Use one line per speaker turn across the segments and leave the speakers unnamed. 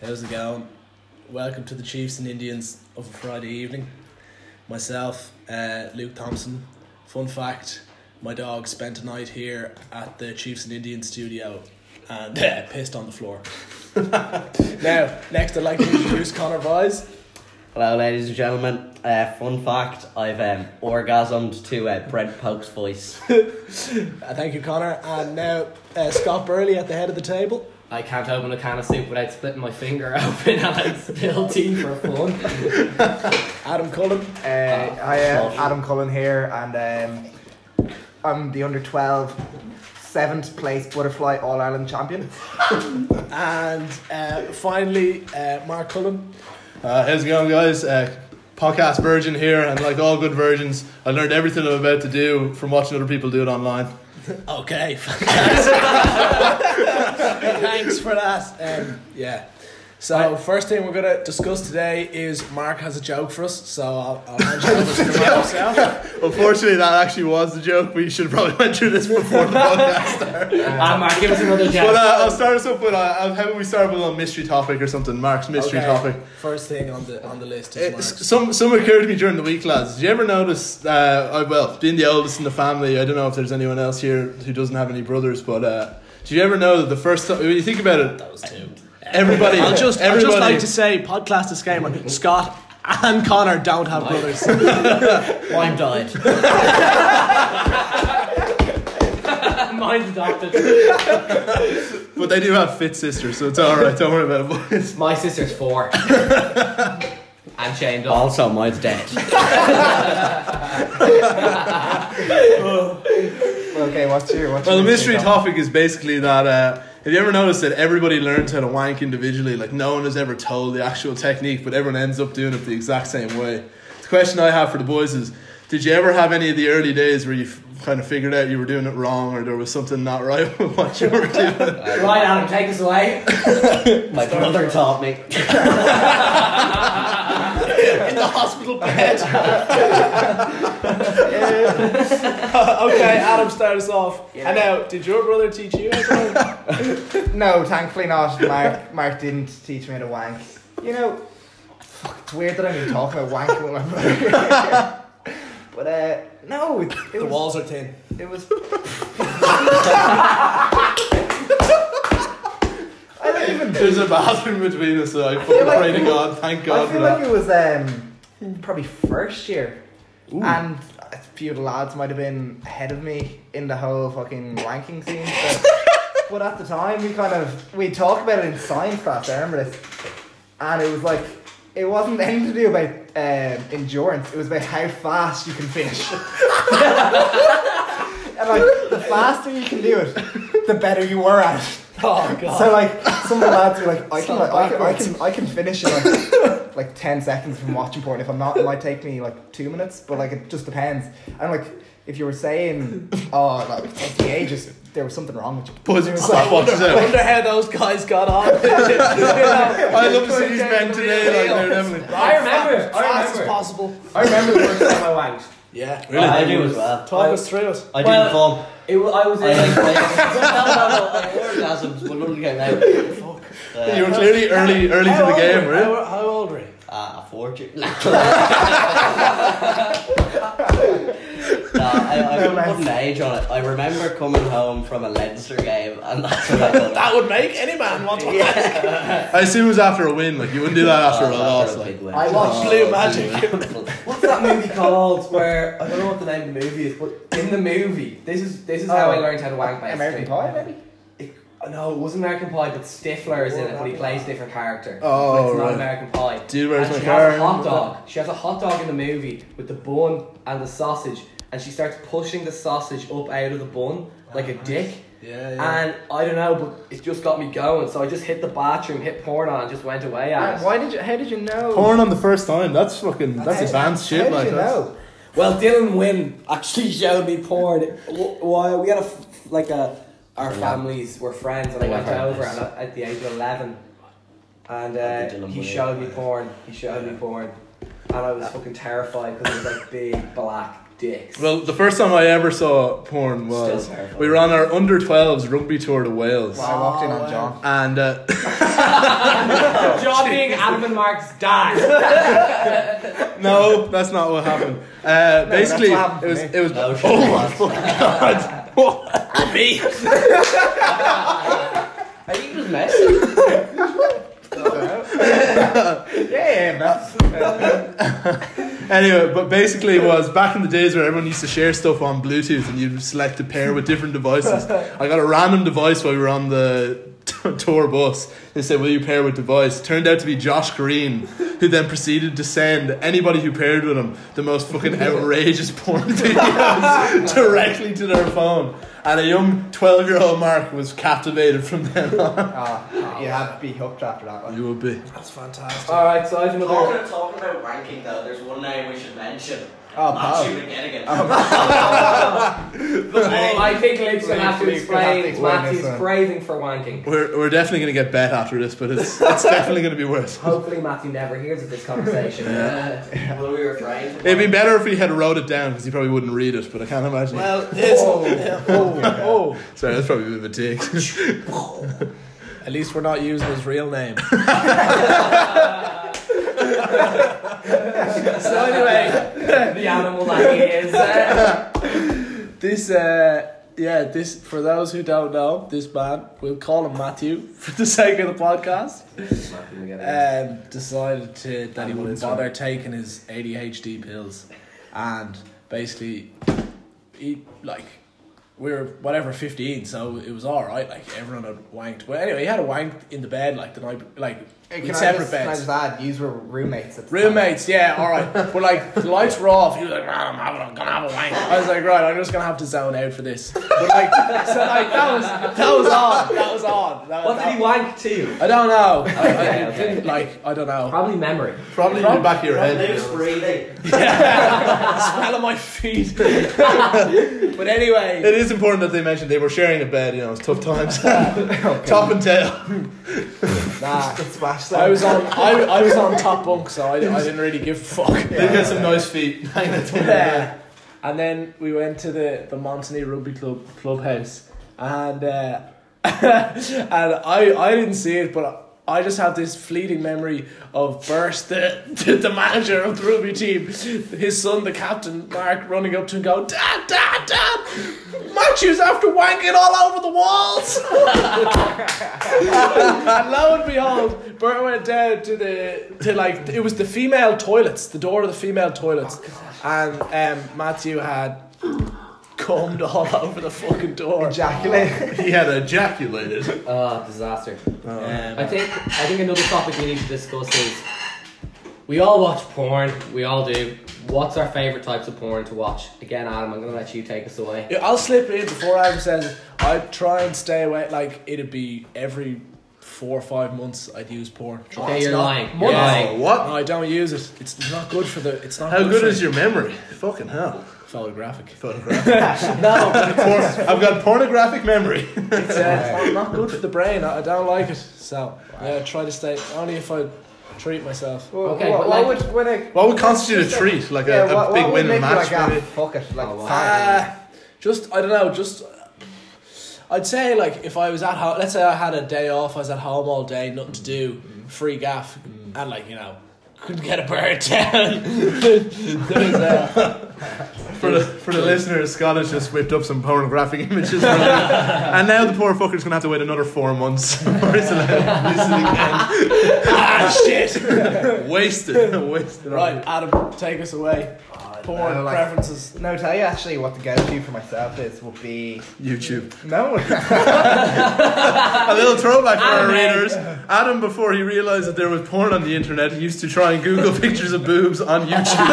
How's it going? Welcome to the Chiefs and Indians of a Friday evening. Myself, uh, Luke Thompson. Fun fact my dog spent a night here at the Chiefs and Indians studio and uh, pissed on the floor. now, next I'd like to introduce Connor Vise.
Hello, ladies and gentlemen. Uh, fun fact: I've um, orgasmed to uh, Brent Pope's voice.
Uh, thank you, Connor. And now, uh, Scott Burley at the head of the table.
I can't open a can of soup without splitting my finger open and I spill tea for fun.
Adam Cullen.
Uh, hi, uh, Adam Cullen here, and um, I'm the under 12 seventh place butterfly All Ireland champion.
And uh, finally, uh, Mark Cullen.
Uh, how's it going, guys? Uh, podcast virgin here, and like all good virgins, I learned everything I'm about to do from watching other people do it online.
Okay, thanks for that. Um, yeah. So first thing we're gonna discuss today is Mark has a joke for us. So I'll, I'll hand you over to Mark himself.
Unfortunately, that actually was the joke. We should have probably went through this before the podcast.
Ah, Mark, give us another
But uh,
job.
I'll start us up with uh, how about we start with a little mystery topic or something? Mark's mystery
Okay,
topic.
First thing on the on the list is
It's-
Mark's.
some some occurred to me during the week, lads. Did you ever notice? Uh, I, well, being the oldest in the family, I don't know if there's anyone else here who doesn't have any brothers, but uh, did you ever know that the first time when you think about it,
Those two.
everybody,
I'll just I'll
everybody,
just like to say podcast disclaimer: Scott and Connor don't have brothers.
Wine died.
Mine's adopted.
but they do have fit sisters, so it's all right. Don't worry about it, boys.
My sister's four. and Shane Dawson.
Also, mine's dead.
okay, what's your what's
Well,
your
the mystery
top?
topic is basically that. Uh, have you ever noticed that everybody learns how to wank individually? Like no one has ever told the actual technique, but everyone ends up doing it the exact same way. The question I have for the boys is: Did you ever have any of the early days where you f- kind of figured out you were doing it wrong, or there was something not right with what you were doing?
Right, Adam, take us away.
My brother taught me.
In the hospital bed.
okay, Adam, start us off. And now, did your brother teach you?
No, thankfully not. Mark Mark didn't teach me to wank. You know, fuck, it's weird that I'm even talking about wanking with my brother. but uh, no, it, it
The
was
walls are thin.
it was. I don't even.
There's a bathroom between us, so I fucking
like-
pray to God. Thank God
I
for
feel
that.
like it was um, probably first year, and a few of the lads might have been ahead of me in the whole fucking wanking scene. So. but at the time, we kind of we talked about it in science class. I remember this, and it was like it wasn't anything to do about um, endurance. It was about how fast you can finish. and like the faster you can do it, the better you were at it.
Oh, God.
So like some of the lads were like, I can,
not
like, I can, I
backwards.
can, I can finish in like, like ten seconds from watching porn. If I'm not, it might take me like two minutes, but like it just depends. And like if you were saying, oh, like that's the ages, there was something wrong with you.
Boys, stopwatches out.
Wonder how those guys got on.
I love to see these men today. Like they're definitely.
I remember. I
Fast as
remember.
possible.
I remember the first time I wanked.
Yeah.
I do as well.
Talk us through it.
I
Well-
didn't fall.
It, wa- I was in
I like I
like,
orgasms, but nothing came out. Uh,
You were clearly early, early to the game, right?
How, how old were you?
Ah, a fortune. nah, I, I wouldn't put an age on it. I remember coming home from a Leinster game, and that's what I thought.
That would make any man want to.
I assume it was after a win. Like you wouldn't do that after a
"Oh,
loss. Like
I
watched Blue
Oh,
Magic.
What's that movie called? Where I don't know what the name of the movie is, but in the movie, this is this is how
Oh.
I learned how to wank my
American
sister.
Pie, maybe.
It, no, it wasn't American Pie, but Stifler is in it, but he plays a different character.
Oh,
but it's not
right.
American Pie.
Dude, where's
and
my
she
car?
has a hot dog. She has a hot dog in the movie with the bun and the sausage, and she starts pushing the sausage up out of the bun like a dick.
Yeah,
And I don't know, but it just got me going. So I just hit the bathroom, hit porn on, and just went away at
Uh,
it.
why did you? How did you know?
Porn on the first time. That's fucking. That's advanced
How
shit.
did
Like
you
that's-
know?
Well, Dylan Wynn actually showed me porn. Why we had a f- like a our families were friends, and I went over and
at, at the age of 11 and uh, he
Boyd.
showed me porn he showed me porn and I was fucking terrified because it was like big black dicks.
Well, the first time I ever saw porn was
Still terrifying.
we were on our under 12s rugby tour to Wales.
I walked in on John.
And uh,
John being Adam and Mark's dad.
no, that's not what happened. Uh, basically,
what happened
it was
to
it was
Oh, shit.
God. What? Me?
I think it was messy.
Yeah, that's
Anyway, but basically it was back in the days where everyone used to share stuff on Bluetooth and you'd select a pair with different devices. I got a random device while we were on the t- tour bus. They said, will you pair with device? Turned out to be Josh Green, who then proceeded to send anybody who paired with him the most fucking outrageous porn videos directly to their phone. And a young 12 year old Mark was captivated from then on.
you had to be hooked after that one.
You would be.
That's fantastic.
All right, so I have another.
Talking, talking about ranking though, there's one name we should mention.
Oh,
Not
pal.
shooting again again.
Well, I think Luke's gonna have to
Luke's gonna have to
explain
explain
Matthew's
this one.
craving for wanking.
We're, we're definitely going to get bet after this, but it's, it's definitely going to be worse.
Hopefully, Matthew never hears of this conversation.
Will we refrain?
It'd be better if he had wrote it down because he probably wouldn't read it, but I can't imagine.
Well, it's,
Oh,
Sorry, that's probably a bit of a dig.
at least we're not using his real name.
so anyway, the animal that he is. uh,
This, uh, yeah, this for those who don't know, this man we'll call him Matthew for the sake of the podcast. Um, decided to, that he wouldn't bother taking his ADHD pills, and basically, he like we were whatever fifteen, so it was all right. Like everyone had wanked, but anyway, he had a wank in the bed like the night, like
Hey,
in
can, I
separate
just, can I
beds.
just add, you were roommates at the time.
Roommates, yeah, all right. But like, the lights were off. He was like, "Nah, I'm, having, I'm gonna have a wank. I was like, right, I'm just gonna have to zone out for this. But like, so like that was that was on, that was on. That,
what did
that-
he wank to?
I don't know. I, I
Okay, okay.
didn't like. I don't know.
Probably memory.
probably in the back of your head.
Loose breathing.
Smell of my feet. but anyway,
It is important that they mentioned they were sharing a bed, you know, it's tough times. Top and tail.
Nah, smash that.
I was on. I, I was on top bunk, so I, I didn't really give a fuck.
They've got some nice feet. Hang on to them.
Yeah. And then we went to the the Montany Rugby Club clubhouse, and uh, and I I didn't see it, but. I just have this fleeting memory of Burst, the, the, the manager of the rugby team, his son, the captain, Mark, running up to him going, Dad, Dad, Dad, Matthew's after wanking all over the walls. and lo and behold, Bert went down to the to like it was the female toilets, the door of the female toilets, and um, Matthew had cummed all over the fucking door.
Ejaculate.
He had ejaculated.
Oh, disaster. I
Um,
think I think another topic we need to discuss is we all watch porn. We all do. What's our favorite types of porn to watch? Again, Adam, I'm gonna let you take us away.
I'll slip in before Adam says it. I try and stay away. Like it'd be every four or five months I'd use porn.
Okay,
It's
you're
not-
lying. You're
months.
Oh,
lying.
No,
what?
I don't use it. It's not good for the. It's not.
How good is
for
your memory? Fucking hell.
photographic?
Photographic.
No,
Porn- I've got pornographic memory.
it's uh, it's not good for the brain. I, I don't like it. So yeah, I try to stay only if I treat myself.
Okay,
what, what
but like-
would when a
What would constitute a treat? Like a,
yeah,
a
what,
big
what would
win in
make
a
you
match,
like, ah,
maybe?
fuck it, like
Oh, wow.
fine.
Uh, just I don't know. Just uh, I'd say like if I was at home, let's say I had a day off, I was at home all day, nothing to do,
Mm-hmm.
free gaff, and like you know. Couldn't get a bird down. There was, uh,
For the, for the listeners, Scott has just whipped up some pornographic images. for them. and now the poor fucker's going to have to wait another four months before he's allowed to
ah, shit!
listen again. Wasted. Wasted.
Right, Adam, take us away.
Oh,
Porn
know, like-
preferences.
No, tell you actually what the go-to for myself is would be
YouTube.
no.
A little throwback for our
Anime.
readers. Adam, before he realised that there was porn on the internet, he used to try and Google pictures of boobs on YouTube.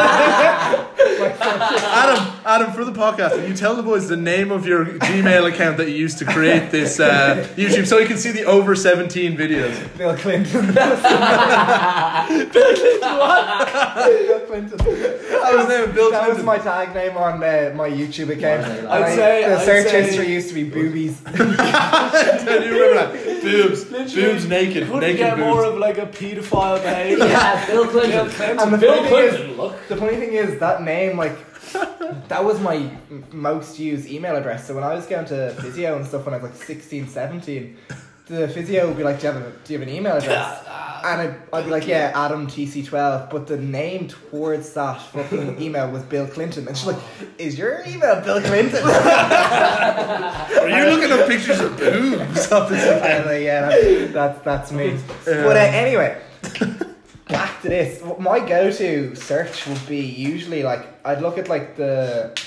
Adam, Adam, for the podcast, can you tell the boys the name of your Gmail account that you used to create this uh, YouTube so you can see the over 17 videos?
Bill Clinton. Bill Clinton.
That was the name of Bill
That was
Clinton.
my tag name on uh, my YouTube account. And
I'd
I-
say-
the
I'd
search
say-
history used to be boobies.
I do remember that. Boobs. Boobs naked.
Couldn't
Naked
get
boobs.
more of like a paedophile behaviour.
Yeah, Bill Clinton.
Bill Clinton.
And the
Bill
funny thing is-
Clinton, look.
The funny thing is that name, like that was my m- most used email address. So when I was going to physio and stuff when I was like 16, 17, the physio would be like, do you have, a, do you have an email address? And I'd, I'd be like, yeah, Adam TC12. But the name towards that fucking email was Bill Clinton. And she's like, is your email Bill Clinton?
Are you looking at pictures of boobs?
And I'm like, yeah, that's, that's, that's me. But uh, anyway, back to this. My go to search would be usually like, I'd look at like the.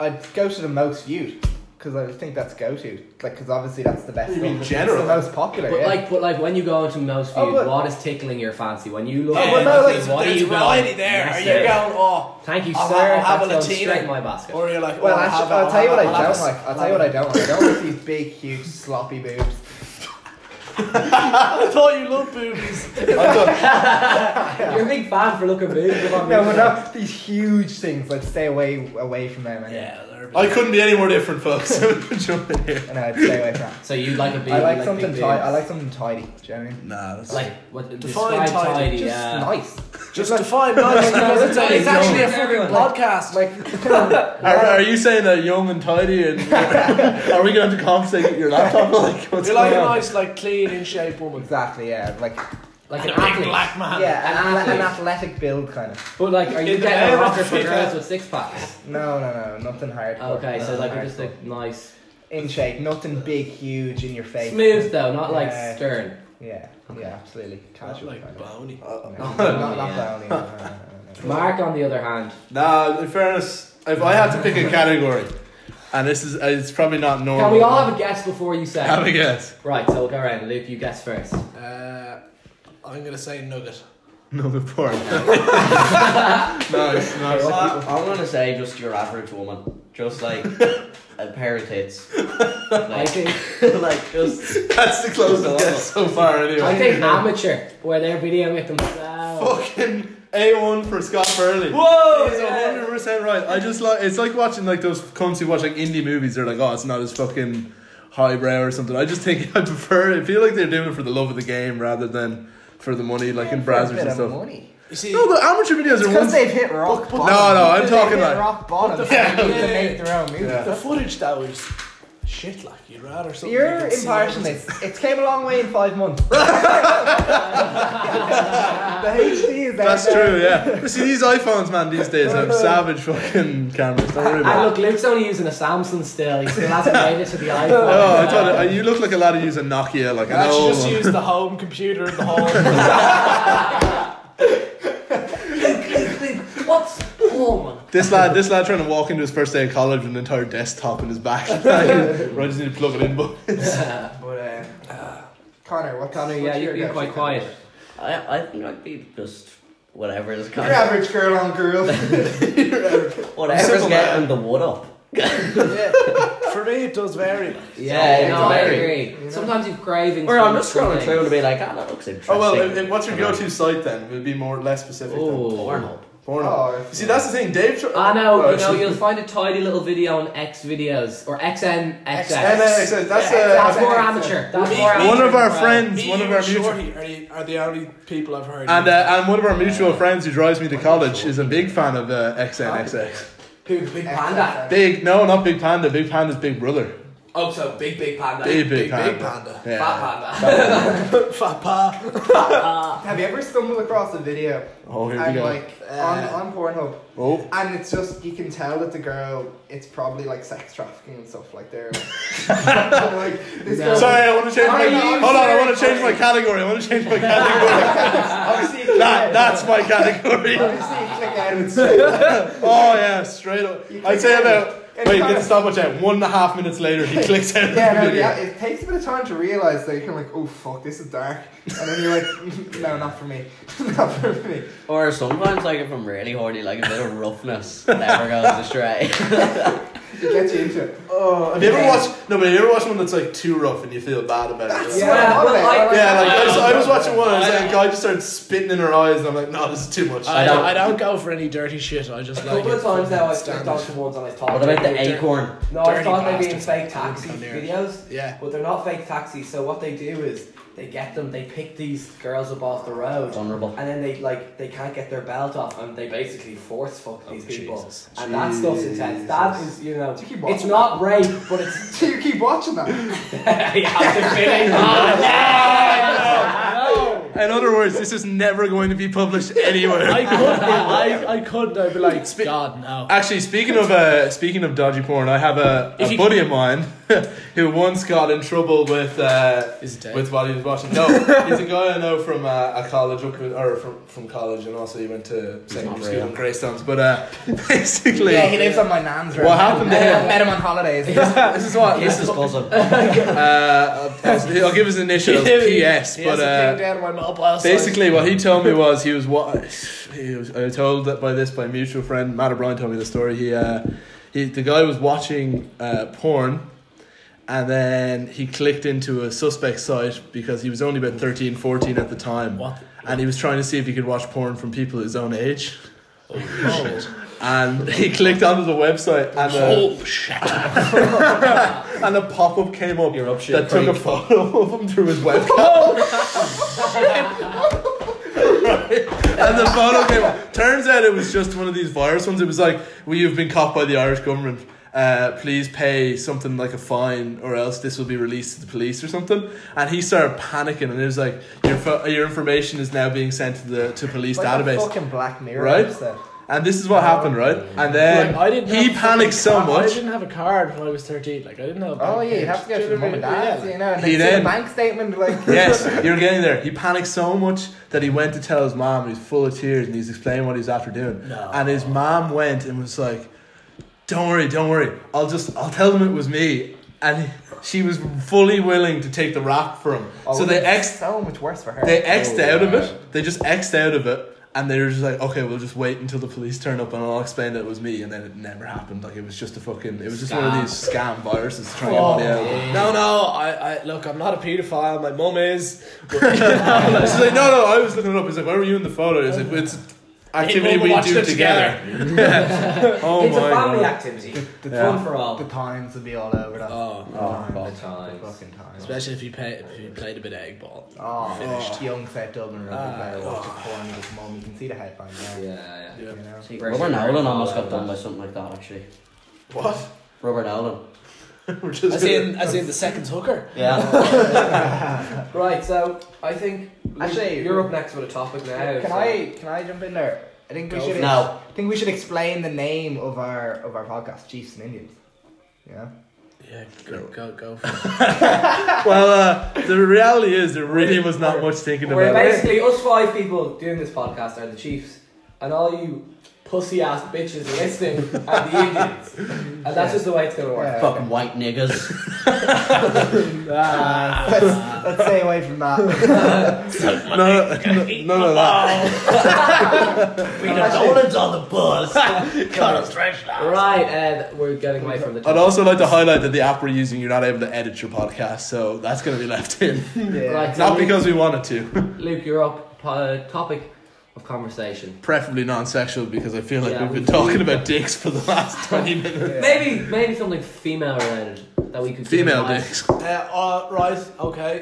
I'd go to the most viewed. Because I think that's go to. Like, because obviously that's the best
You
one.
mean
It's
general?
the most popular.
But
yeah.
like, but like, when you go into most viewed,
Oh, but-
what is tickling your fancy? When you look,
Oh,
at
but
it,
no, like,
what are
There's
you
variety
going?
there.
Yes,
Are you
sir.
going, oh,
Thank you,
I'll-
sir.
I'll have
That's
a
going
Latina.
straight in my basket.
or you're like,
Well,
oh,
actually,
have a-
I'll tell you what I
have a-
don't
have a-
like. I'll tell you what I don't like. I don't like these big, huge, sloppy boobs.
I thought you loved boobies.
You're a big fan for looking big. if I'm
No, but
being
not these huge things. Like, stay away away from them. Anyway.
Yeah, they're a bit-
I couldn't be any more different, folks. Jump in here.
Yeah. And I'd stay away from that.
So you like a big?
I like,
you
something
big
tidy. I
boobs.
like something tidy. Do you know what I mean?
Nah, that's
like what
Define
describe
tidy.
tidy.
Just
yeah.
Nice.
Just define nice.
no,
It's
no,
it's
no.
actually a fucking
Everyone.
podcast.
Like,
Are, are you saying that young and tidy and uh, are we going to confiscate your laptop? Like, what's
You're like a
going on?
nice, like clean, in shape woman.
exactly. Yeah. Like,
like
And
an
a big
athlete.
black man.
yeah, an,
an
athle- an
athlete.
athletic build kind of.
But like, are you
In the
getting a
name of
rocker for
FIFA.
girls with six packs?
No, no, no, nothing hard.
Okay, so
uh,
Nothing
like,
hard.
you're just like nice,
in shape, nothing big, huge in your face.
smooth though, not like
Yeah.
stern.
Yeah. Yeah. Absolutely. Casual.
Like
kind of.
bony.
No,
Not
not, not,
lonely, yeah.
that only. No, no, no, no, no.
Mark, on the other hand,
Nah, in fairness, if I had to pick a category, and this is uh, it's probably not normal.
Oh.
can we all have a guess before you say?
Have a guess?
Right, so we'll go around. Luke, you guess first.
Uh, I'm gonna say nugget.
No, the porn. no, it's not.
I, I'm gonna say just your average woman, just like a pair of tits,
I
like,
think
like just
That's the closest guess so far,
I
anyway.
think amateur, where they're videoing it themselves.
Fucking A1 for Scott Burley.
Whoa!
He's
yeah.
100 percent right. I just like it's like watching like those cunts who watch like indie movies. They're like, oh, it's not as fucking highbrow or something. I just think I prefer. I feel like they're doing it for the love of the game rather than for the money, like in
For a
Brazzers
bit
and
of
stuff.
money.
You see,
No, the amateur videos are
Because
ones.
they've hit rock bottom.
No, no, I'm
They've
talking
hit
like-
rock bottom. so
Yeah.
they need to
Yeah.
make their own music.
Yeah.
the footage that was shit. Like you'd rather something. you
You're
could see.
impartial. It's, it's came a long way in five months. the HD is
That's
out there.
true, yeah. But see, these iPhones, man, these days have savage fucking cameras. Don't worry
And
about it.
look, Luke's only using a Samsung still. He still hasn't made it to the iPhone.
Oh, I thought it, you look like a lot of use a Nokia, like an
I actually
old
just
one.
use the home computer in the home.
What's woman?
This lad, this lad, trying to walk into his first day of college with an entire desktop in his back. right, just need to plug it in, but
But, uh, Connor, what's
Connor, yeah,
what's
you're
your
being
go-to category?
quite quiet.
I, I think I'd be just whatever's
Your
kind of,
average girl on girl.
whatever's getting the wood up.
yeah. For me, it does vary. like.
Yeah,
no,
it's
I
very-
agree. Sometimes you've cravings.
Or
for
I'm just scrolling
something.
through to be like, ah, that looks interesting.
oh well. and- and what's your go-to site then? It'll be more less specific.
Ooh.
Then.
Pornhub.
Pornhub.
Oh,
You see, that's the thing, Dave. Tr-
Oh. I know,
Oh,
you know,
it's-
you'll find a tidy little video on X videos or XN
And,
XX.
uh, so that's
Yeah,
uh,
That's more amateur. That's more amateur.
one of our
than
friends.
Me,
One of
you,
our
and
mutual.
Shorty are, the- are the only people I've heard.
And, uh, and one of our mutual friends who drives me to college is a big fan of uh, XNXX.
who big
Panda.
Big, no, not Big Panda. Big Panda's big brother.
Oh, so big, big panda.
Big,
big, big
big panda.
panda.
Yeah.
Fat panda. Fat pa.
Have you ever stumbled across a video
Oh, here we
and
go.
like
Uh,
on, on Pornhub,
oh,
and it's just you can tell that the girl, it's probably like sex trafficking and stuff like they're like this girl.
sorry, I want to change my.
Are you
Hold on, I want to change
serious?
my category. I want to change my category.
Obviously, you
That,
click-
that's my category.
Obviously, you click out and straight.
Oh yeah, straight up.
You
I'd
click
say
on
about
it.
wait,
Anytime.
get the stopwatch out. One and a half minutes later, he clicks out.
Yeah,
of the
no,
video.
yeah, it takes a bit of time to realise that you're like, oh fuck, this is dark, and then you're like, "Mm, no, not for me, not for me.
Or sometimes, like, if I'm really horny, like a bit of roughness never goes astray.
It gets you into it.
Oh, have you ever watched? No, but have you ever watched one that's like too rough and you feel bad about it?
Yeah,
Yeah,
Yeah,
well,
well,
I-
I-
like I was, I was watching one, and I was like, a guy just started spitting in her eyes, and I'm like, no, this is too much.
I
don't-
don't, I don't go for any dirty shit. I just
A
like
couple
it.
of times now I've
Standard.
clicked onto ones and I thought.
What about
they
the
were-
acorn?
No, I
Dirty
thought they were being
bastards.
fake taxi
Come here.
videos,
Yeah.
but they're not fake taxis. So what they do is
They get them. They pick these girls up off the road.
Vulnerable.
And then they like they can't get their belt off, and they basically force fuck these people,
Jesus.
and that stuff's intense. That is, you know,
Do you keep
it's
watching
not rape, but it's. Oh,
Do you keep watching that?
I have to finish.
In other words, this is never going to be published anywhere.
I could, I, I could, I'd be like,
Spe-
God, no.
Actually, speaking of uh, speaking of dodgy porn, I have a,
If
a
you-
buddy of mine who once got in trouble with uh,
Is it dead?
with what he was watching. No, he's a guy I know from uh, a college up in, or from, from college, and also he went to secondary
not
school
real.
in Greystones. But uh, basically,
yeah, he lives on my nan's road.
What happened to
I
him?
met him on holidays.
this is what this is.
cousin.
Uh, I'll, I'll give his initials P.S.
He
But
has a
uh,
thing down my mobile site.
Basically, what he told me was he was what he was. I was told that by this by a mutual friend Matt O'Brien told me the story. He, uh, he the guy was watching uh, porn, and then he clicked into a suspect site because he was only about 13, 14 at the time,
What?
and he was trying to see if he could watch porn from people his own age.
Oh, shit.
And he clicked onto the website, and a,
Oh, shit.
and a pop up came up
You're up shit Oh,
that took a
creek.
photo of him through his webcam. and the photo came up. Turns out it was just one of these virus ones. It was like, we have been caught by the Irish government. Uh, please pay something like a fine, or else this will be released to the police or something. And he started panicking, and it was like, your fo- your information is now being sent to the to police
Like a
database.
fucking Black Mirror
Right?
episode.
And this is what happened, right? And then
Oh, Like, I didn't
he
have a fucking
panicked so
card- I
much.
didn't have a card when I was 13. Like, I didn't have a
Oh
bank
yeah, you
page.
have to go to
Do
the
you know
mum and
what I mean?
dad's,
Yeah,
you know, and
He
they see
then-
the bank statement like
yes, you're getting there. He panicked so much that he went to tell his mom. He's full of tears and he's explaining what he's after doing.
No.
And his mom went and was like, "Don't worry, don't worry. I'll just I'll tell them it was me." And he- she was fully willing to take the rap for him.
Oh,
so they
it's
ex
so much worse for her.
they xed
Oh,
out of
wow.
it. They just xed out of it. And they were just like, okay, we'll just wait until the police turn up and I'll explain that it was me. And then it never happened. Like, it was just a fucking, it was just one of
Scam.
these scam viruses trying to get
Oh,
money out.
no, no, I, I, look, I'm not a pedophile, my mum is.
She's like, no, no, I was looking it up. He's like, why were you in the photo? He's like, it's activity
People
we
watched
do
it
together. oh
it's a
my
family
god.
activity.
the,
Yeah.
Fun for all.
the times would be all over that.
Oh,
Oh, God.
The
times.
fucking times.
especially if you, pay, if you played a bit of egg ball.
Oh,
Finished.
young Seth Dublin rugby
Ah,
player watches porn with his mum. You can see the headband.
Yeah,
Yeah.
yeah.
You know?
Robert Nolan almost got done by something like that, actually.
What?
Robert Nolan.
We're just
As in, as in the second hooker.
Yeah.
Right, so I think
Actually-
you're up next with a topic now.
Can
so-
I can I jump in there? I think we
Go
should.
for it.
No.
I think we should explain the name of our of our podcast, Chiefs and Indians. Yeah.
Yeah, go, go, go. For it.
well, uh, the reality is there really was not much thinking
We're
about it.
basically us five people doing this podcast are the Chiefs, and all you pussy ass bitches listening are the Indians, and that's just the way it's gonna work.
yeah.
Fucking white niggas.
Ah, let's, let's stay away from that.
No, no, no, none of that.
We Nolan's on the bus.
Right, and we're getting away from the.
I'd also like to highlight that the app we're using, you're not able to edit your podcast, so that's going to be left in.
Yeah.
Right, so
Not
Luke-
because we wanted to,
Luke, you're up. po- Uh, topic of conversation.
preferably non-sexual, because I feel like
Yeah,
we've been
we-
talking about dicks for the last twenty minutes.
Yeah.
Maybe, maybe something female related that we could.
Female
utilize.
dicks.
uh, uh, right, okay.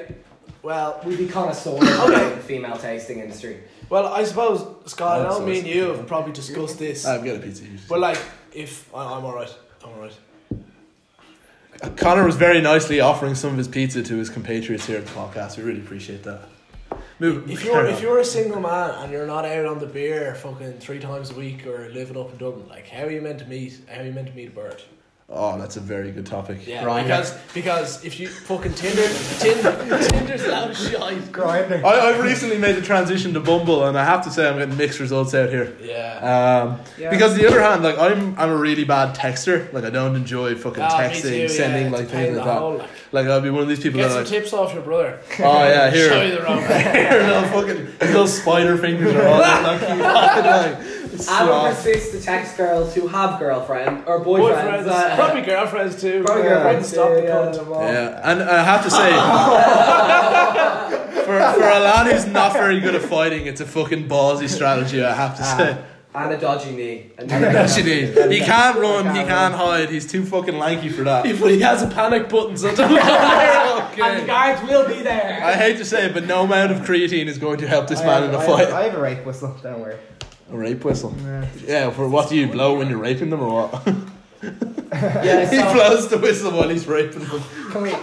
Well,
We'd be connoisseurs of
Okay.
the female tasting industry.
well, I suppose, Scott, I
That's
know me and
awesome.
you have probably discussed this.
Uh,
I've got a pizza.
But, like, if. I, I'm alright. I'm alright.
Connor was very nicely offering some of his pizza to his compatriots here at the podcast. We really appreciate that. Move.
If you're if you're a single man and you're not out on the beer fucking three times a week or living up in Dublin, like how are you meant to meet how are you meant to meet a bird?
oh, that's a very good topic.
Yeah,
Grinder.
because because if you fucking Tinder Tinder Tinder's loud shite.
Grinder.
I, I've recently made the transition to Bumble, and I have to say I'm getting mixed results out here.
Yeah.
Um,
Yeah.
Because on the other hand, like I'm, I'm a really bad texter. Like I don't enjoy fucking
Ah, me
texting,
too,
sending
yeah,
like
it's a pain
things
in the
like that.
hole, like.
Like I'll be one of these people
Get some
that are like,
tips off your brother.
oh yeah,
Show you
here,
the wrong way.
here, little fucking little spider fingers are all like, you fucking, like
I would
sloth.
resist the text girls who have girlfriend or boyfriends.
Boyfriends,
uh,
probably girlfriends too.
Probably
Yeah.
girlfriends
Stop
too,
the
yeah.
cunt.
Yeah, and I have to say, for, for a lad who's not very good at fighting, it's a fucking ballsy strategy, I have to say.
and a dodgy knee. And
That's what you need. He can't run, he
Can't
can't hide, he's too fucking lanky for that.
But he has a panic button, so don't
And the guards will be there.
I hate to say it, but no amount of creatine is going to help this
I
man
have-
in a
I
fight.
Have, I have a rape whistle. Don't worry.
A rape whistle.
Yeah.
Yeah, for what do you blow when you're raping them or what?
Yeah,
he
so,
blows the whistle while he's raping them.
Can we?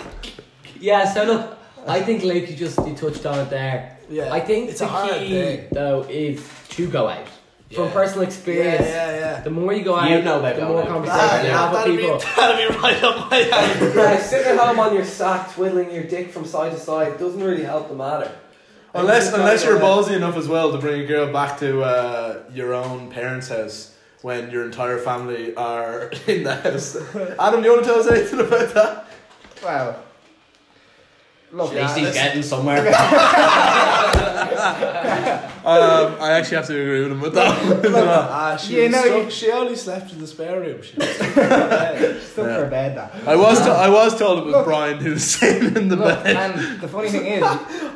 yeah, so look, I think Luke, you just you touched on it there.
Yeah.
I think
It's
the
a hard
key
thing.
though is to go out. From
Yeah.
personal
yeah,
experience,
yeah, yeah.
the more you go out,
You know about
the
going
more
out.
conversations
That,
you
yeah,
have with
that'd, be,
people.
that'd be right up my alley.
Yeah, sitting at home on your sack, twiddling your dick from side to side doesn't really help the matter.
Unless
It's not
unless you're
gonna-
ballsy enough as well to bring a girl back to uh, your own parents' house when your entire family are in the house. Adam, do you want to tell us anything about that?
Well. Look,
At least he's getting somewhere.
Um, I actually have to agree with him with that.
Ah, she,
You
was
know,
stuck-
you-
she only slept in the spare room. She was
Still for a bed that.
I was to- I was told it was
Look.
Brian who was sitting in the
Look,
bed.
and the funny thing is,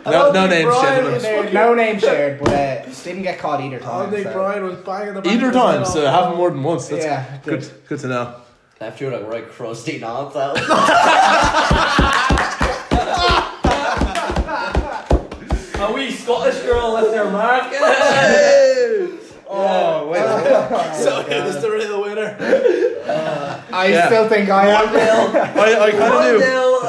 No, no names
was
shared.
there-
fucking-
no name shared, but uh, didn't get caught either
I
time.
don't think
so-
Brian was banging the back
Either
of his head
time, so
off.
it happened more than once. That's
Yeah,
good. good. to know.
Left you like right crusty knob though.
A wee Scottish girl left their mark.
Oh wait.
So here's the real winner.
I
Yeah.
still think I am.
I, I kind of knew.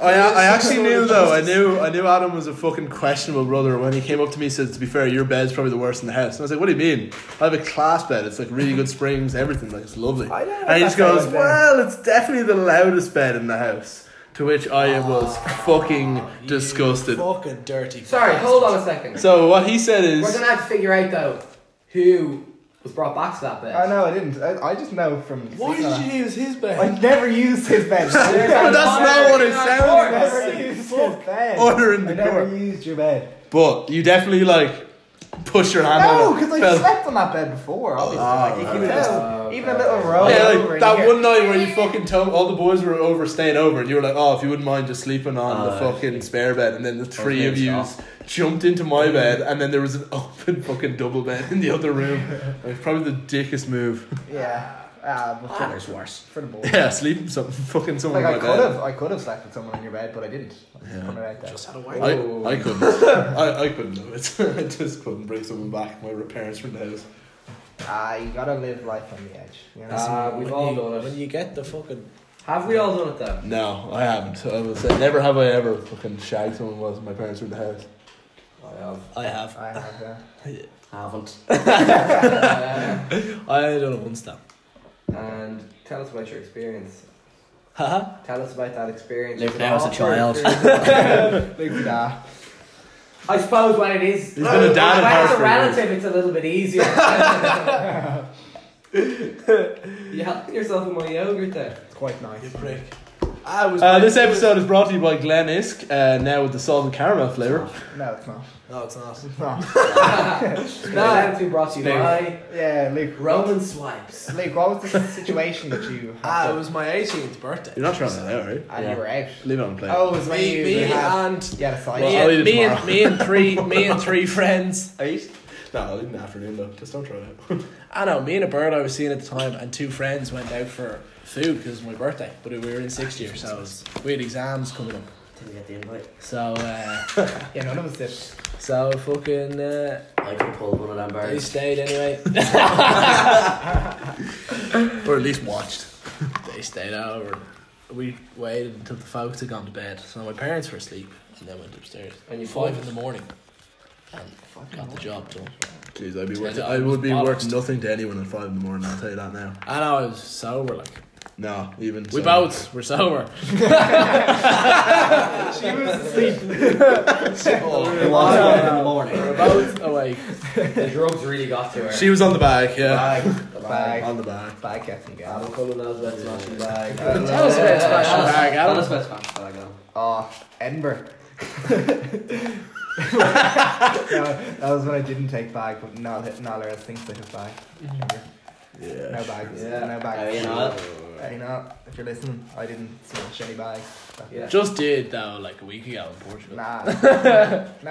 I, I actually
Social
knew though. I knew I knew Adam was a fucking questionable brother when he came up to me and said, "To be fair, your bed's probably the worst in the house." And I was like, "What do you mean? I have a class bed. It's like really good springs, everything. Like it's lovely."
I don't know
and he
if
just
that's how
goes,
I was
"Well, it's definitely the loudest bed in the house." To which I was fucking disgusted.
Fucking dirty.
Sorry, hold on a second.
So what he said
We're
is,
gonna have to figure out though who was brought back to that bed.
I know I didn't. I, I just know from.
Why
sleeping on
did you use his
it.
bed?
I never used his bed.
There's
I
But
that
that's
fire
not what it
in our
sounds
court.
never used his bed.
order
I
in the
never
court.
used your bed.
but you definitely like push your hand.
No,
on it.
because I
Felt-
slept on that bed before. Obviously,
Ah,
like you can tell. Even a little roll.
Oh, Yeah,
over
like that
here.
one night where you fucking told all the boys were over staying over, and you were like, "Oh, if you wouldn't mind just sleeping on the
Oh,
fucking spare bed," and then the three of
names
you
off.
jumped into my bed, and then there was an open fucking double bed in the other room. Like probably the dickest move.
Yeah. Ah, but for,
There's worse.
for the boy.
yeah, sleeping some fucking someone
Like I
in my
could
bed.
have, I could have slept with someone in your bed, but I didn't. I'm just putting it out there.
Just had a wank.
Oh.
I, I couldn't. I, I couldn't do it. I just couldn't bring someone back. My parents were in the house.
Ah, you gotta live life on the edge. You know?
Ah, we've
When
all
you-
done
When
it.
you get the fucking
Have we all done it though?
No, I haven't. I would say never have I ever fucking shagged someone whilst my parents were in the house.
I have.
I have.
I have that.
Haven't.
Uh,
I don't know once that.
and tell us about your experience.
Haha.
Tell us about that experience.
Luke
Was it
now is a
awkward
child.
experience?
Big da.
I suppose when it is,
He's been a dad in
when it's
Hartford,
a relative, it's a little bit easier. you helping yourself with my yogurt there.
It's quite nice.
You prick. I was.
Uh, this episode is brought to you by Glen Isk, uh, now with the salt and caramel flavour.
No, it's not.
No, it's not.
It's not.
No, I have to be brought to you
Smooth.
by
Yeah, Luke.
Roman Swipes.
Luke, what was the situation that you
Ah, it
had?
was my 18th birthday.
You're not trying that out, are you?
and you were out.
Leave it on play.
Oh, it was when
Me,
you
me
had.
and
Yeah, the side.
Well,
me,
I'll eat
and,
it
me and
tomorrow.
me and three me and three friends.
Eight? No, I'll leave in the afternoon though. Just don't try it out.
I know me and a bird I was seeing at the time, and two friends went out for food because it was my birthday. But we
Ah,
were in sixth year, so it was, we had exams coming up.
Didn't get the invite.
So uh,
Yeah, none of us did.
so fucking uh,
I could pull one of them
they
birds.
stayed anyway.
or at least watched.
They stayed over. We waited until the folks had gone to bed. So my parents were asleep, and then went upstairs.
And you
five
pulled.
in the morning, and got the job done.
Jeez, I'd be worth.
Yeah,
I would be
bollocks.
worth nothing to anyone at five in the morning. I'll tell you that now.
I know I was sober. Like
No, even
we
so.
both were sober.
She was asleep.
It was five in the morning.
We're both awake.
The drugs really got to her.
She was on the bag, yeah.
Bag. The bag.
On the bag.
Bag kept me going.
Adam Cullen knows about smashing bags.
Tell us about smashing bag,
Tell us
Adam.
about smashing bag, Adam.
Oh, Edinburgh. no, that was when I didn't take bag, but now now Laura thinks I took bag. No
Yeah.
bags.
Yeah.
No
Oh,
bags.
you know what?
Hey, no, if you're listening, I didn't smash any bags.
Yeah.
Just did though, like a week ago in Portugal.
Nah. no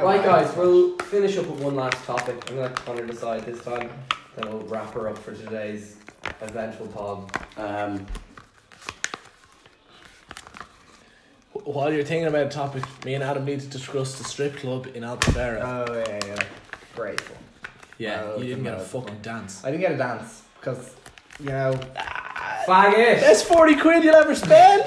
Right,
bags.
guys, we'll finish up with one last topic. I'm gonna let Connor decide this time. Then we'll wrap her up for today's eventful pod.
Um,
While you're thinking about a topic, me and Adam need to discuss the strip club in Albufeira.
Oh yeah, yeah, yeah. Grateful.
yeah,
oh,
you didn't get a
no.
fucking dance.
I didn't get a dance because you know
Fag it!
That's 40 quid you'll ever spend!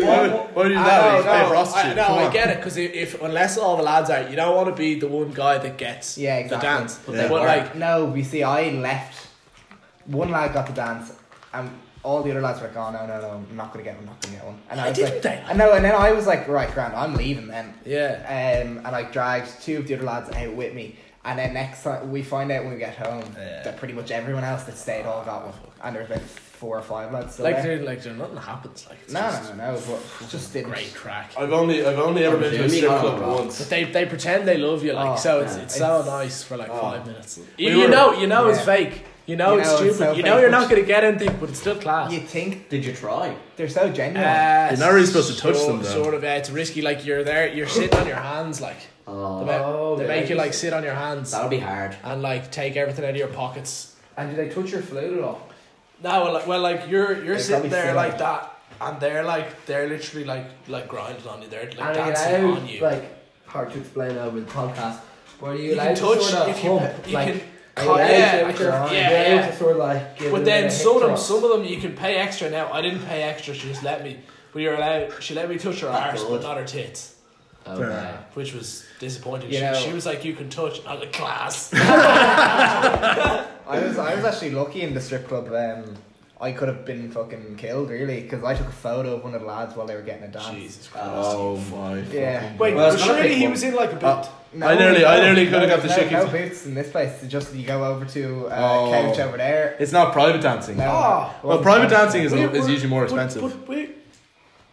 Why would, why would you do that?
I
You just pay
know,
a prostitute.
I, no,
Come
I
on.
get it because if unless all the lads are, you don't want to be the one guy that gets
Yeah, exactly.
the dance. But,
they were.
like,
no, you see, I left. One lad got the dance, and all the other lads were like, "Oh no, no, no, I'm not gonna get one, I'm not gonna get one." And
Why
I was
didn't
like,
they?
I know, and then I was like, "Right, Grant, I'm leaving then."
yeah,
Um, and I dragged two of the other lads out with me, and then next time we find out when we get home
Yeah.
that pretty much everyone else that stayed all got one, and there was about four or five lads. Still
like
there.
dude, like dude, nothing happens. Like it's
No,
just
no, no, no, but it just didn't.
great crack.
I've only I've only ever been to a
Jimmy
strip
got
club
it wrong.
once.
But they they pretend they love you, like
Oh,
so. It's
yeah.
it's so
It's-
nice for like
oh.
five minutes.
We
You, you
were-
know, you know it's
Yeah.
fake. You know,
You
it's
know it's
stupid.
so
you know
fake,
you're
but-
not gonna get anything, but it's still class.
You think
did you try?
they're so genuine?
Uh,
You're not really supposed to touch
so-
them, though.
Sort of, uh, it's risky. Like you're there, you're sitting on your hands. Like they,
Oh,
ma-
Oh,
they
yeah,
make you
you
like sit on your hands
that'll be hard.
and like take everything out of your pockets.
And do they touch your flute at all?
No, well, like, well, like you're you're
They
sitting
probably
there
feel
like
it.
that, and they're like they're literally like like grinding on you. They're like
And are
dancing
allowed,
on you.
Like, hard to explain over the podcast. But are you,
you
allowed
can
to
touch
sort of
if you,
hump?
you
like,
can.
are you
cut-
allowed
yeah,
to with your
yeah,
arm? Are
yeah,
you allowed
yeah.
to sort of like give
But
them a
then
hip
some of them,
thrust?
some of them you can pay extra. Now I didn't pay extra. She just let me. But you're allowed. She let me touch her arse, but
good.
not her tits,
Okay.
which was disappointing.
You
she,
know-
she was like, "You can touch." I was like, "Class."
I was I was actually lucky in the strip club. Um, I could have been fucking killed really because I took a photo of one of the lads while they were getting a dance.
Jesus Christ.
Oh my.
Yeah.
Wait,
Well,
but
it's not a
surely
big
he
one.
was in like a boot.
Uh, I nearly- I nearly
no,
could've got the
no,
shit
No
kicked-
boots in this place. It's just you go over to uh,
Oh.
couch over there.
It's not private dancing.
No,
Oh.
it
Well,
wasn't
private
fun.
dancing is,
We-
is
we-
usually more
but-
expensive.
But, we-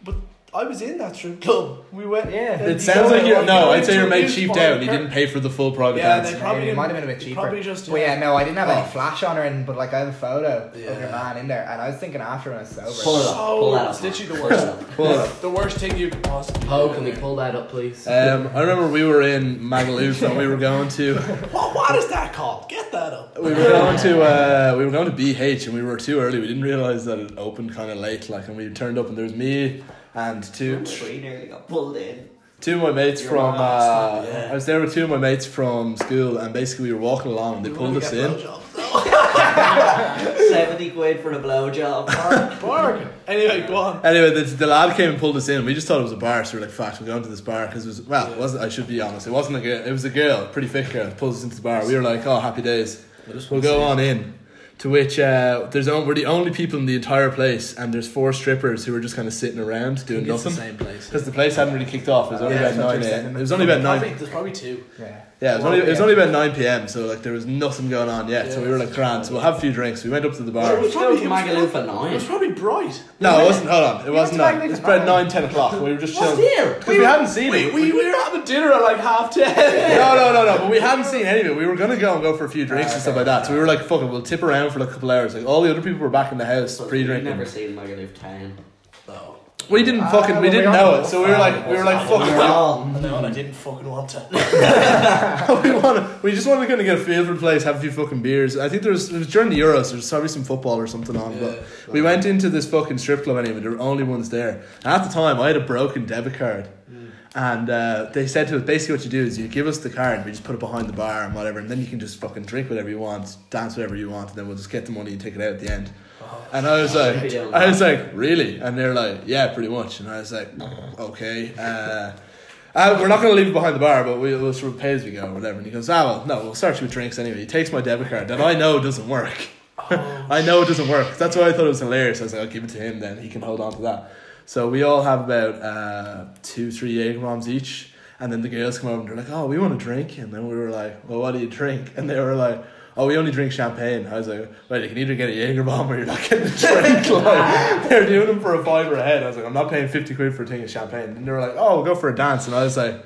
but I was in that strip club. We went.
Yeah.
and
it
you
sounds
go
like
in,
you're
like,
no.
go
I'd say
into
your
a
mate
music
cheaped
bar
out.
and
He
cur-
didn't pay for the full private
Yeah,
dance.
they probably
it might have been a bit
they
cheaper.
Probably just.
But yeah, no, I didn't have
Oh.
any flash on her, and but like I have a photo of
Yeah.
your man in there, and I was thinking after when I was
Pull
sober.
it up. pull
So
that up.
it's literally Oh, the
Pull it
worst.
up.
Well,
The worst thing you could possibly. do.
Poe, can we pull that up, please?
um, I remember we were in Magaluf and we were going to
What? What is that called? Get that up.
we were going to uh, we were going to BH and we were too early. We didn't realize that it opened kind of late. Like, and we turned up and there was me and two
Tree nearly got pulled in.
two of my mates from.
mom,
Uh,
yeah.
I was there with two of my mates from school, and basically we were walking along. and They pulled us in.
Seventy quid for the blowjob.
Bargain. Anyway, go on.
Anyway, the, the lad came and pulled us in. We just thought it was a bar, so we are like, "Fact, we're going to this bar." Because it was well, it wasn't. I should be honest. It wasn't a girl. It was a girl, pretty thick girl, pulls us into the bar. We were like, "Oh, happy days." We'll go on in. To which uh, there's on, we're the only people in the entire place, and there's four strippers who were just kind of sitting around doing
It's the
nothing
same place.
because the place hadn't really kicked off. It was only
Yeah,
about
that's what
nine.
you're
A,
saying.
it was only about nine.
Probably, there's probably two.
Yeah.
Yeah, it was,
Well,
only, it was
yeah.
only about 9 p.m., so like there was nothing going on yet. So we were like, grand, so we'll have a few drinks. We went up to the bar.
It was probably, it was-
Magaluf at
it was
nine.
probably bright.
No, it wasn't, hold on, it wasn't
to
nine.
Magaluf
It was
at
about
nine.
9, 10 o'clock. We were just
What's
chilling.
here?
Because we hadn't seen it.
We, we were having dinner at like half ten.
No, no, no, no, but we hadn't seen any of it. We were going to go and go for a few drinks
Ah,
okay.
and stuff like that. So we were like, fuck it, we'll tip around for like a couple hours. Like all the other people were back in the house pre
We've
drinking.
never seen Magaluf ten.
No.
We didn't
Ah,
fucking,
well,
we
we
didn't
all
know
know.
it. So we were like, we were
Ah,
like, fuck it.
Oh,
No, and I didn't fucking want to.
we want we just want to kind of get a feel for the place, have a few fucking beers. I think there was it was during the Euros, there was probably some football or something on.
Yeah.
but we went into this fucking strip club anyway. There were only ones there. And at the time, I had a broken debit card,
Mm.
and uh, they said to us basically what you do is you give us the card, we just put it behind the bar and whatever, and then you can just fucking drink whatever you want, dance whatever you want, and then we'll just get the money and take it out at the end. And I was like,
Oh. Yeah.
I was like, really? And they're like, yeah, pretty much. And I was like, okay. Uh, uh, we're not going to leave it behind the bar, but we, we'll sort of pay as we go or whatever. And he goes, ah, well, no, we'll start you with drinks anyway. He takes my debit card that I know doesn't work. I know it doesn't work. That's why I thought it was hilarious. I was like, I'll give it to him then. He can hold on to that. So we all have about uh, two, three egg bombs each. And then the girls come over and they're like, oh, we want a drink. And then we were like, well, what do you drink? And they were like, oh, we only drink champagne. I was like, well, you can either get a Jaeger bomb or you're not getting a drink. like, they're doing them for a fiver a head. I was like, I'm not paying 50 quid for a thing of champagne. And they were like, oh, we'll go for a dance. And I was like,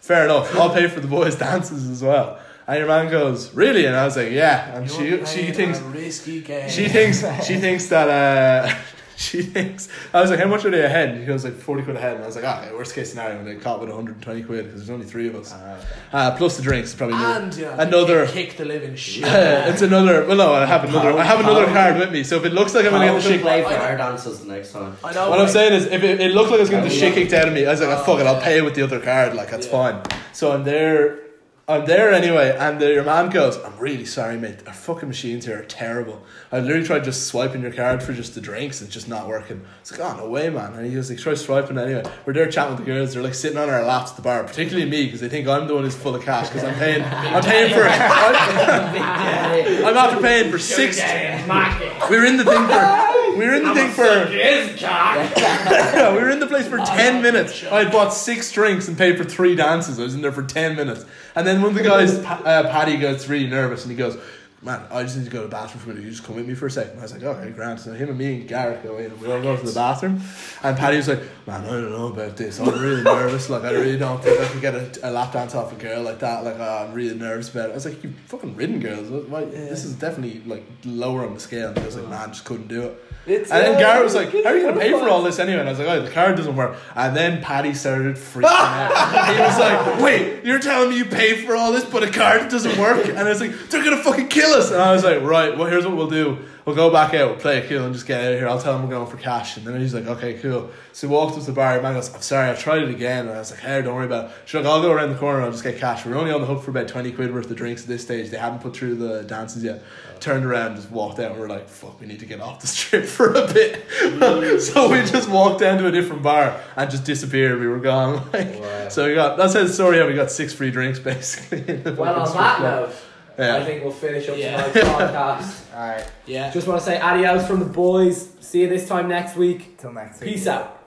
fair enough. I'll pay for the boys' dances as well. And your man goes, really? And I was like, yeah. And she, she thinks
risky game.
she thinks she thinks that uh, she thinks I was like, how much are they ahead? And she goes like forty quid ahead, and I was like, ah, worst case scenario, and they caught with one hundred and twenty quid because there's only three of us. Uh, plus the drinks, probably. another-
And yeah,
uh, Another-
kick the living shit.
it's another. Well, no, I have another. I have another card with me, so if it looks like I'm gonna
I'll
get the shit.
play for
I know.
our dances the next time.
I know.
What I'm
like,
saying is, if it, it looked like I was going to
Oh,
get the shit
yeah.
kicked out of me, I was like, oh,
Oh,
fuck it, I'll pay with the other card. Like, that's
Yeah.
fine. So I'm there. I'm there anyway, and the, your man goes, I'm really sorry, mate. Our fucking machines here are terrible. I literally tried just swiping your card for just the drinks, and it's just not working. It's like, oh, no way, man. And he goes, like, try swiping anyway. We're there chatting with the girls, they're like sitting on our laps at the bar, particularly me, because they think I'm the one who's full of cash, because I'm paying, I'm paying for I'm after paying for six. We were in the thing for, we were in the thing for, yeah, we were in the place for 10 minutes. I had bought six drinks and paid for three dances. I was in there for 10 minutes. And then one of the guys, Pa- uh, Paddy, gets really nervous and he goes, Man, I just need to go to the bathroom for a minute. You just come with me for a second. I was like, Okay, grand. So him and me and Gareth go in and we all go to the bathroom. And Paddy was like, Man, I don't know about this. I'm really nervous. Like, I really don't think I could get a, a lap dance off a girl like that. Like, uh, I'm really nervous about it. I was like, You fucking ridden girls. What, why This is definitely like lower on the scale. And he was like, Man, I just couldn't do it. And then Garrett was like, "How are you gonna pay for all this anyway?" And I was like, "Oh, the card doesn't work." And then Paddy started freaking out. He was like, "Wait, you're telling me you paid for all this, but a card doesn't work?" And I was like, "They're gonna fucking kill us!" And I was like, "Right, well, here's what we'll do: we'll go back out, we'll play a kill, and just get out of here. I'll tell them we're going for cash." And then he's like, "Okay, cool." So he walked up to the bar. and Man goes, "I'm sorry, I tried it again." And I was like, "Hey, don't worry about it." She's like, "I'll go around the corner. and I'll just get cash." We're only on the hook for about twenty quid worth of drinks at this stage. They haven't put through the dances yet turned around, just walked out, and we are like, fuck, we need to get off the strip for a bit. so we just walked down to a different bar and just disappeared. We were gone. Like, So we got, that's how the story how we got six free drinks basically. in the
Well, on
fucking
that
strip
note,
club.
I
Yeah.
think we'll finish up
Yeah.
tonight's podcast.
Alright,
yeah.
Just want to say adios from the boys. See you this time next week.
till next week.
Peace out.